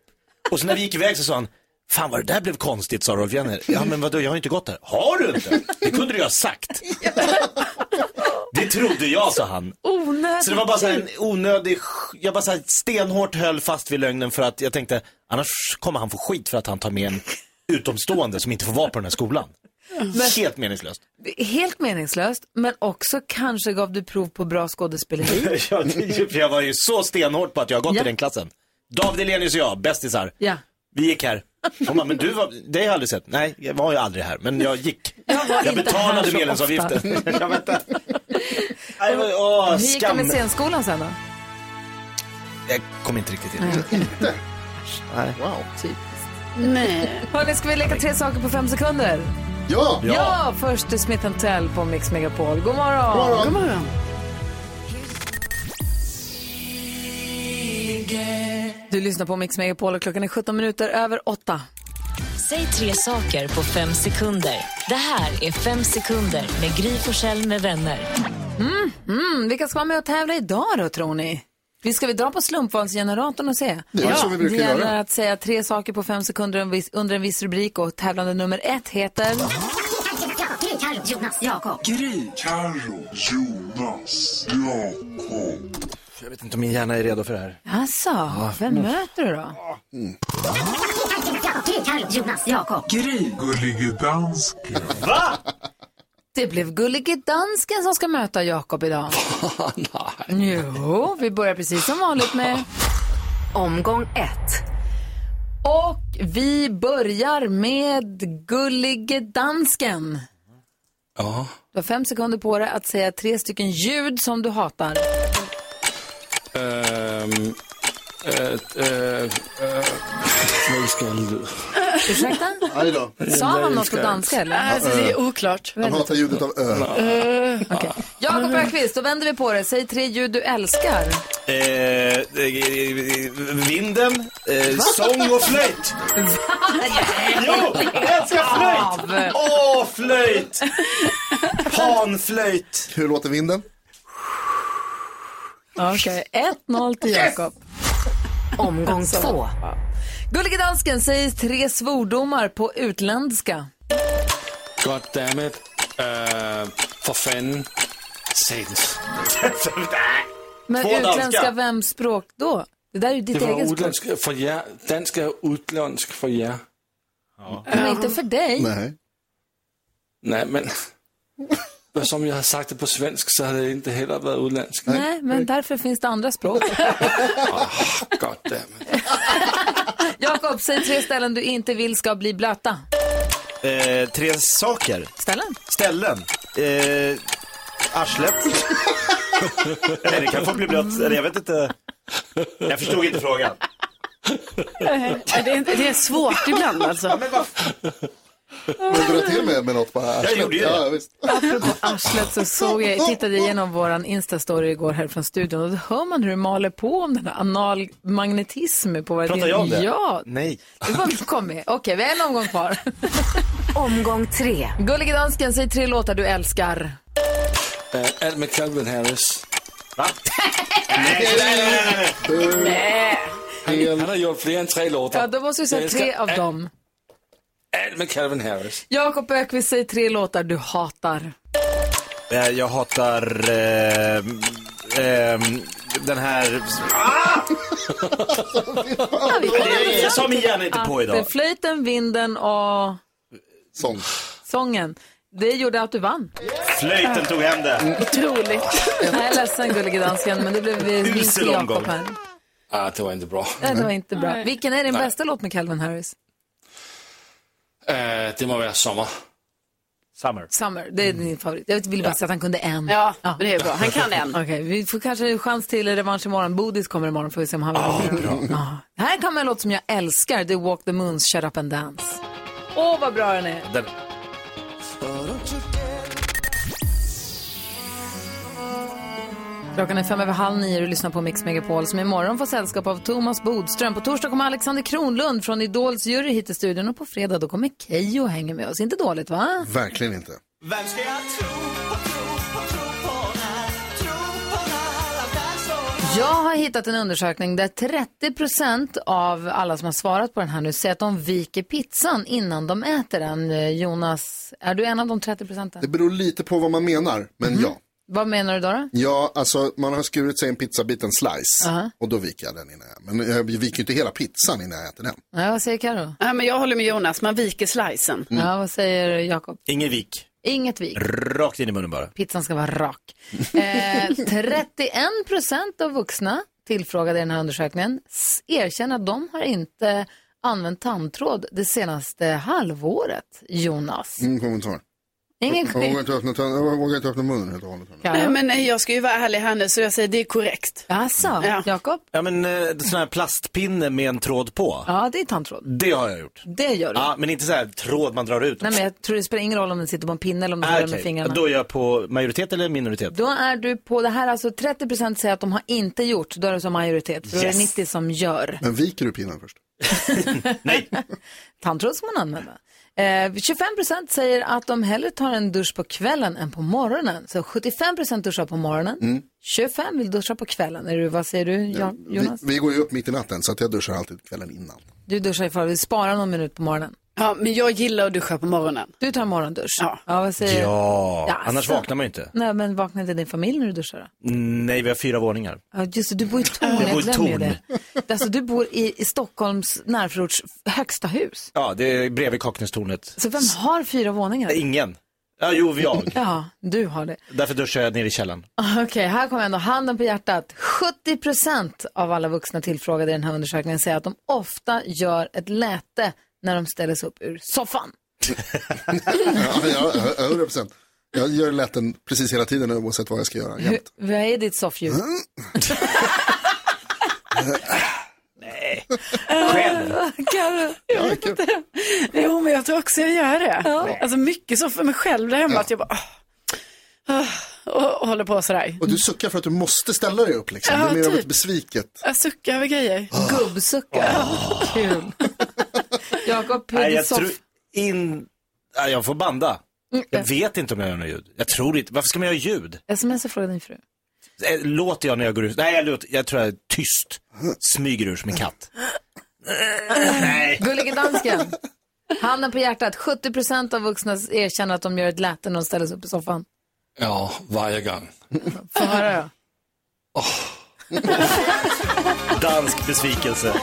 C: Och så när vi gick iväg så sa han, fan vad det där blev konstigt, sa Rolf Jenner. Ja men vadå, jag har ju inte gått där. Har du inte? Det kunde du ju ha sagt. Det trodde jag, sa han.
A: Onödigt.
C: Så det var bara så här en onödig, sk- jag bara så här stenhårt höll fast vid lögnen för att jag tänkte, annars kommer han få skit för att han tar med en utomstående som inte får vara på den här skolan. Helt meningslöst.
A: Helt meningslöst, men också kanske gav du prov på bra skådespeleri.
C: jag, jag var ju så stenhård på att jag har gått
A: Ja.
C: i den klassen. David Elenius och jag, bästisar,
A: Ja.
C: vi gick här. Hon bara, men du var, det har jag aldrig sett. Nej, jag var ju aldrig här, men jag gick.
A: Jag var
C: Jag
A: inte här
C: betalade
A: så ofta.
C: medlemsavgiften. jag vet inte. Nej, men, åh,
A: Hur gick det med
C: skam.
A: scenskolan sen då?
C: Jag kom inte riktigt in.
D: wow.
A: Hörni, ska vi leka tre saker på fem sekunder?
D: Ja,
A: Ja, först till Smith Tell på Mix Megapol. God morgon!
D: God
A: morgon! Du lyssnar på Mix Megapol och klockan är 17 minuter över 8.
G: Säg tre saker på fem sekunder. Det här är Fem sekunder med Gry Forssell med vänner.
A: Mm, vilka ska vara med och tävla idag då tror ni? Vi ska vi dra på slumpvalsgeneratorn och se?
D: Det är så vi brukar
A: det gäller
D: göra.
A: att säga tre saker på fem sekunder en viss- under en viss rubrik och tävlande nummer ett heter...
H: Gry.
C: Jag vet inte om min hjärna är redo för det här.
A: Alltså, vem möter du då?
H: Gry. Gullige dansken.
A: Det blev Gullige Dansken som ska möta Jakob idag. Jo, vi börjar precis som vanligt med...
E: Omgång ett.
A: Och vi börjar med Gullige Dansken.
C: Ja.
A: Du har fem sekunder på dig att säga tre stycken ljud som du hatar. Ursäkta?
D: Aj då.
A: Sa han något på danska eller?
B: Alltså, det är oklart.
D: Han hatar ljudet av ö.
A: Jakob Öqvist, då vänder vi på det. Säg tre ljud du älskar.
C: Eh, eh, vinden, eh, sång och flöjt. jo, jag älskar flöjt. Åh, flöjt. Panflöjt.
D: Hur låter vinden?
A: Okej, 1-0 till Jakob.
E: Omgång två.
A: Gullige Dansken, säg tre svordomar på utländska.
I: God damn it. Uh, for fanden. Satans.
A: Men
C: Två
A: utländska,
C: danska.
A: vems språk då? Det där är ju ditt
I: Det var
A: eget språk.
I: utländsk för jer. Dansk är utländsk för jer.
A: Men inte för dig.
D: Nej.
I: Nej, men som jag har sagt det på svenska så hade det inte heller varit utländskt.
A: Nej, men därför finns det andra språk.
I: Gott damn.
A: Jakob, säg tre ställen du inte vill ska bli blöta.
C: Eh, tre saker.
A: Ställen?
C: Ställen. Eh, arslet. Nej, det kan få bli blött. Eller jag vet inte. Jag förstod inte frågan.
B: Ja, Det är, det är svårt ibland alltså.
D: Men dra till med, med något bara.
C: Jag gjorde ju
D: ja,
C: det.
D: visst.
A: Apropå arslet så såg jag, tittade igenom våran Insta-story igår här från studion och då hör man hur du maler på om den här analmagnetism på vad
C: Pratar jag om det?
A: Ja,
C: Nej.
A: det var kommit. Okej, vi har en omgång kvar.
E: Omgång tre.
A: Gullige dansken, säg tre låtar du älskar.
I: Eh, Allt med Calvin Harris. Han, han har gjort fler än tre låtar.
A: Ja, då måste du
I: Jag
A: säga
I: älskar
A: tre av
I: allt-
A: dem.
C: Eh,
I: Allt med Calvin Harris.
A: Jakob Ökvist, säg tre låtar du hatar.
C: Eh, jag hatar eh, eh, den här... Ah! Det- Jag sa min hjärna inte på
A: Det är
C: idag.
A: flöjten, vinden och
D: Sånt.
A: sången. Det gjorde att du vann.
C: Flöjten tog hem
I: Mm.
C: det.
B: Otroligt.
A: Jag är ledsen gullige dansken, men det blev vinst till
C: Usel
A: Jakob
C: omgång.
A: här.
I: Ah, det var inte bra.
A: Nej, det var inte bra.
B: Nej.
A: Vilken är din
I: Nej.
A: bästa låt med Calvin Harris?
I: Eh, det må vara sommar.
C: Summer.
A: Summer, det är din favorit. Jag ville bara säga att han kunde en.
B: Ja, men det är bra. Han kan en.
A: Okej, vi får kanske en chans till revansch imorgon. Bodis kommer imorgon, får vi se om han vill oh, bra. Här kommer en låt som jag älskar, det är Walk the Moons Shut Up and Dance. Åh, vad bra den är.
C: Den.
A: Klockan är fem över halv nio och du lyssnar på Mix Megapol som imorgon får sällskap av Thomas Bodström. På torsdag kommer Alexander Kronlund från Idols jury hit till studion och på fredag då kommer Keyyo och hänger med oss. Inte dåligt va?
D: Verkligen inte.
A: Jag har hittat en undersökning där 30 av alla som har svarat på den här nu säger att de viker pizzan innan de äter den. Eh, Jonas, är du en av de 30
D: Det
A: procenten?
D: beror lite på vad man menar, men ja.
A: Vad menar du då? då?
D: Ja, alltså man har skurit sig en pizzabit, en slice,
A: Aha.
D: och då viker jag den innan jag, men jag viker ju inte hela pizzan innan jag äter den.
A: Nej, vad säger Karo?
B: Ja, men jag håller med Jonas, man viker slicen.
A: Ja, vad säger Jakob?
C: Ingen vik.
A: Inget vik.
C: Rakt in i munnen bara.
A: Pizzan ska vara rak. Eh, 31 procent av vuxna tillfrågade i den här undersökningen s- erkänner att de har inte använt tandtråd det senaste halvåret, Jonas.
D: Ingen kommentar.
A: Ingen
D: Jag vågar
A: skit.
D: inte öppna, tön- jag vågar inte öppna munnen helt och hållet.
B: Nej, men nej, jag ska ju vara ärlig här nu, så jag säger det är korrekt.
A: Jaså,
B: Ja.
A: Jakob?
C: Ja men eh, sån här plastpinne med en tråd på.
A: Ja, det är tandtråd.
C: Det har jag gjort.
A: Det gör du.
C: Ja, men inte så här tråd man drar ut.
A: Nej, men jag tror det spelar ingen roll om den sitter på en pinne eller om du
C: Ah,
A: har den
C: okej.
A: med fingrarna.
C: Då är jag på majoritet eller minoritet?
A: Då är du på det här, alltså 30% säger att de har inte gjort, då är det som majoritet. För då är
C: Yes.
A: det 90% som gör.
D: Men viker du pinnen först?
C: Nej.
A: Tandtråd ska man använda. Eh, 25% säger att de hellre tar en dusch på kvällen än på morgonen. Så 75% duschar på morgonen,
C: Mm.
A: 25% vill duscha på kvällen. Är du, vad säger du,
C: Eh,
A: ja,
D: Vi,
A: Jonas?
D: vi går ju upp mitt i natten, så att jag duschar alltid kvällen innan.
A: Du duschar ifall du sparar någon minut på morgonen.
B: Ja, men jag gillar att duscha på morgonen.
A: Du tar morgondusch.
B: Ja.
A: vad säger
C: Ja,
A: Ja,
C: annars
A: alltså.
C: vaknar man ju inte.
A: Nej, men vaknar inte din familj när du duschar då?
C: Nej, vi har fyra våningar.
A: Ja, just det, du bor i Torn.
C: Jag
A: Jag
C: bor i
A: glömmer ju
C: Torn.
A: det. Alltså, du bor i, i Stockholms närförorts högsta hus.
C: Ja, det är bredvid Kaknästornet.
A: Så vem har fyra våningar?
C: Ingen. Ja, jo, jag.
A: Ja, du har det.
C: Därför duschar jag nere i källaren.
A: Okej, här kommer ändå handen på hjärtat. 70 procent av alla vuxna tillfrågade i den här undersökningen säger att de ofta gör ett läte när de ställer sig upp ur soffan.
D: Ja, ja, ö- över procent. Jag gör lätten precis hela tiden oavsett vad jag ska göra.
A: Hur,
D: jämt.
A: vad är ditt soffljud?
C: Mm. Själv.
A: Karo,
D: Ja, det är kul.
B: Jo, men jag tror också jag gör det. Alltså mycket så för mig själv där hemma, att jag bara... ah, ah, Och, och håller på sådär.
D: Och du suckar för att du måste ställa dig upp liksom. Det är
B: Ja,
D: mer av
B: typ.
D: ett besviket.
B: Jag suckar över grejer.
A: gubbsuckar. Kul. Jakob, hur är
C: Ah. Nej,
A: ditt
C: jag tror
A: soff...
C: in... Nej, jag får banda.
A: Mm.
C: Jag vet inte om jag gör något ljud. Jag tror inte. Varför ska man göra ljud?
A: Sms frågade din fru.
C: Eh, Låter jag när jag går ut? Nej, jag, låter... jag tror jag är tyst. Smyger ur som en katt. Nej.
A: Gullige dansken. Handen på hjärtat. 70 av vuxna erkänner att de gör ett läte när de ställer sig upp i soffan.
I: Ja, varje gång.
A: Få höra då.
C: Dansk besvikelse.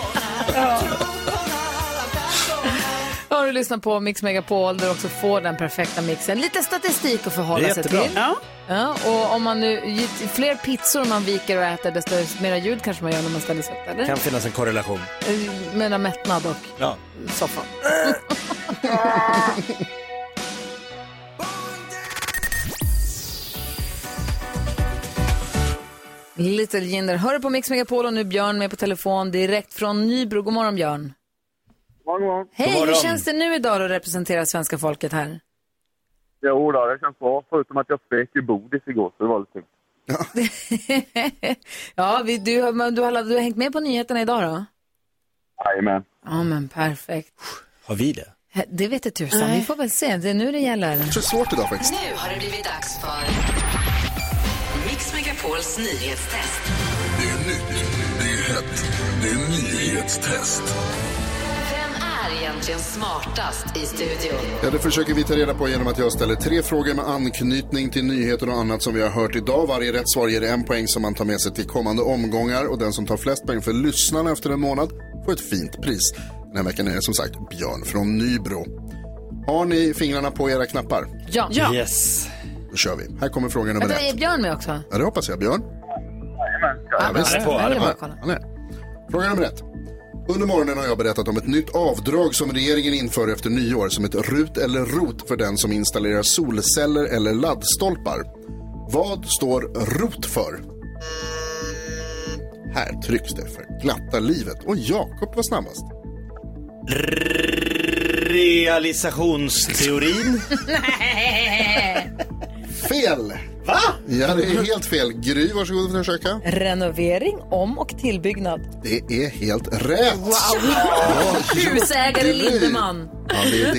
A: Har du lyssnar på Mix Megapol där du också får den perfekta mixen. Lite statistik att förhålla sig
J: Jättebra.
A: till.
J: Ja.
A: Ja, och om man nu, ju fler pizzor man viker och äter desto mera ljud kanske man gör när man ställer sig upp.
C: Det
A: Eller?
C: kan finnas en korrelation.
A: Eh, Mellan mättnad och
C: Ja.
A: soffan. Little Jinder, hör du på Mix Megapol och nu Björn med på telefon direkt från Nybro. God morgon Björn.
K: God
A: Hej, hur
K: morgon.
A: känns det nu idag att representera svenska folket här?
K: Jo då, det känns bra. Förutom att jag spek i bodis igår, så det var lite tungt.
A: Ja, vi, du, har- men du, har, du har hängt med på nyheterna idag då?
K: Jajamän.
A: Ja, men perfekt.
C: Har vi det?
A: Det vet jag tusan, vi får väl se. Det är nu det gäller.
D: Jag tror det är svårt idag faktiskt.
E: Nu har det blivit dags för Mix Megapols nyhetstest.
L: Det är nytt, det är hett, det är nyhetstest.
E: Vem är egentligen smartast i studion?
D: Ja, det försöker vi ta reda på genom att jag ställer tre frågor med anknytning till nyheter och annat som vi har hört idag. Varje rätt svar ger en poäng som man tar med sig till kommande omgångar och den som tar flest poäng för lyssnarna efter en månad får ett fint pris. Den här veckan är det som sagt Björn från Nybro. Har ni fingrarna på era knappar?
A: Ja.
C: Yes.
D: Då kör vi. Här kommer fråga nummer
A: Vänta,
D: ett.
A: är Björn med också?
D: Ja, det hoppas jag. Björn?
A: Ja,
D: visst.
A: han är på, han är på.
D: Ja, han är. Fråga nummer ett. Under morgonen har jag berättat om ett nytt avdrag som regeringen inför efter nyår som ett RUT eller ROT för den som installerar solceller eller laddstolpar. Vad står ROT för? Här trycks det för glatta livet och Jakob var snabbast.
C: Realisationsteorin.
D: Fel! Va? Ja, det är helt fel. Gry, varsågod och försöka.
A: Renovering, om och tillbyggnad.
D: Det är helt rätt.
A: Wow!
D: Ja,
A: Husägare
D: Gry.
A: Lindeman.
D: Ja, det är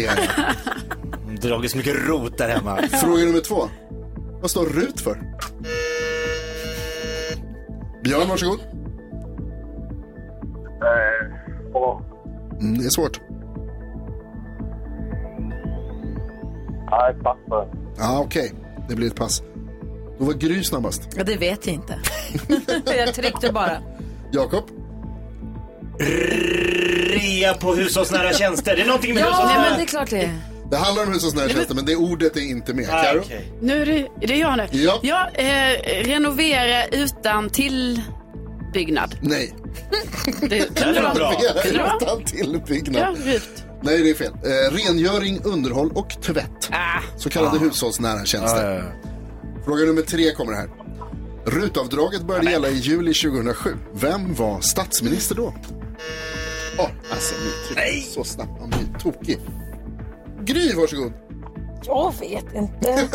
D: det.
C: Dragit så mycket rot där hemma.
D: Fråga nummer två. Vad står RUT för? Björn, varsågod. Mm, det är svårt.
K: Nej, pappa.
D: ah, okej. Det blir ett pass. Då var Gry snabbast.
A: Ja, det vet jag inte. jag tryckte bara.
D: Jakob?
C: Rea på hushållsnära tjänster. Det är någonting med
A: Ja,
C: hushållsnära.
A: men det är klart det är.
D: Det handlar om hushållsnära tjänster, men det ordet är inte med.
C: Ah,
D: Karo?
C: okej.
B: Nu är det, är det jag nu.
D: Ja.
B: eh, renovera utan tillbyggnad.
D: Nej.
B: Det kunde vara Kunde det vara?
D: Utan tillbyggnad.
B: Ja, rut.
D: Nej, det är fel. Eh, rengöring, underhåll och tvätt. Så kallade
C: Ah.
D: hushållsnära tjänster. Fråga nummer tre kommer här. Rutavdraget började gälla i juli 2007. Vem var statsminister då? Åh, alltså nu trycker jag så snabbt. Man blir tokig. Gry, varsågod.
A: Jag vet inte.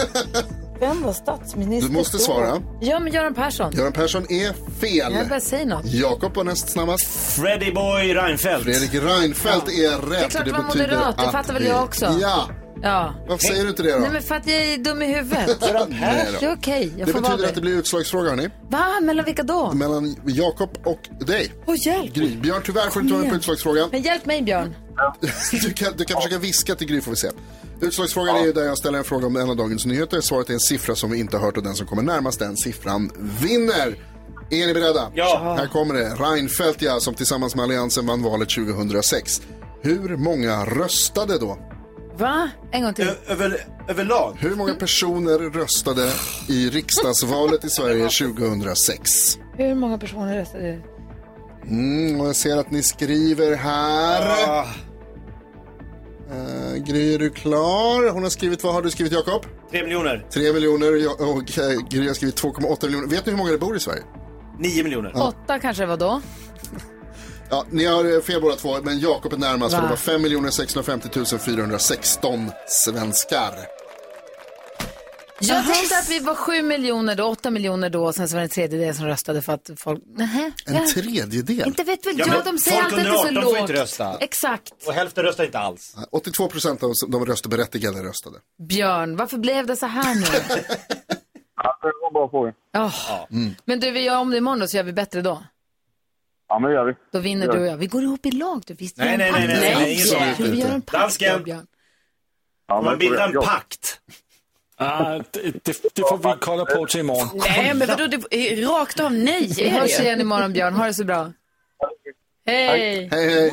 A: Vem var statsminister?
D: Du måste
A: då?
D: svara.
A: Ja, men Göran Persson.
D: Göran Persson är
A: Jag
D: fel.
A: bara säger något.
D: Jakob var näst snabbast.
C: Freddy Boy Reinfeldt.
D: Fredrik Reinfeldt är rätt.
A: Det är klart
D: och
A: det var
D: betyder
A: moderat, det
D: att
A: fattar väl
D: vi-
A: jag också.
D: Ja.
A: Ja.
D: Varför säger du inte det då?
A: Nej, men för att jag är dum i huvudet.
D: Göran Persson.
A: Det är okej, jag
D: det
A: får vara
D: betyder att
A: det.
D: det blir utslagsfråga, hörni.
A: Va, mellan vilka då?
D: Mellan Jakob och dig.
A: Åh, hjälp!
D: Gry. Björn, tyvärr får du inte vara med på
A: igen.
D: utslagsfrågan.
A: Men hjälp mig, Björn.
D: Du kan, du kan försöka viska till Gry får vi se. Utslagsfrågan är ju där jag ställer en fråga om en av dagens nyheter. Svaret är en siffra som vi inte har hört och den som kommer närmast den siffran vinner. Är ni beredda? Ja. Här kommer det. Reinfeldt ja, som tillsammans med Alliansen vann valet 2006. Hur många röstade då?
A: Va? En gång till.
C: Över, överlag?
D: Hur många personer röstade i riksdagsvalet i Sverige 2006?
A: Hur många personer röstade?
D: Mm, och jag ser att ni skriver här. Eh, Gry, är du klar? Hon har skrivit, vad har du skrivit Jakob?
C: Tre miljoner.
D: 3 miljoner jag- och eh, Gry har skrivit 2,8 miljoner. Vet ni hur många det bor i Sverige?
C: Nio miljoner.
D: Ja.
A: Åtta kanske det var då.
D: Ja, ni har eh, fel båda två, men Jakob är närmast för
A: Va?
D: det var 5 650 416 svenskar.
A: Jag tänkte att vi var sju miljoner då, åtta miljoner då, och sen så var det en tredjedel som röstade för att folk... Nähä.
D: En
A: ja.
D: tredjedel?
A: Inte vet väl
C: Ja,
A: jag,
C: men
A: de säger
C: folk
A: alltid att det
C: under
A: är så
C: 18 får
A: lågt.
C: inte rösta.
A: Exakt.
C: Och hälften röstar inte alls.
D: 82 procent av de röstberättigade röstade.
A: Björn, varför blev det så här nu?
K: Det var en bra fråga.
A: Åh. Men du, vi gör om det imorgon då, så gör vi bättre då.
K: Ja, men det gör vi.
A: Då vinner
K: Det gör
A: du och jag. Vi går ihop i lag, du. Visst,
K: Nej, nej, nej, nej, nej, nej, ingen sån
A: Vi gör
K: utbyte.
A: en pakt då,
K: Dansken.
A: Björn.
K: Ja,
I: Man bildar en
K: jag-
C: pakt.
I: Ah, det, det, det får vi kolla på till imorgon.
B: Nej, men vadå, det är rakt av nej.
A: Vi hörs igen imorgon, Björn. Ha det så bra. Hej!
D: Hej, hej.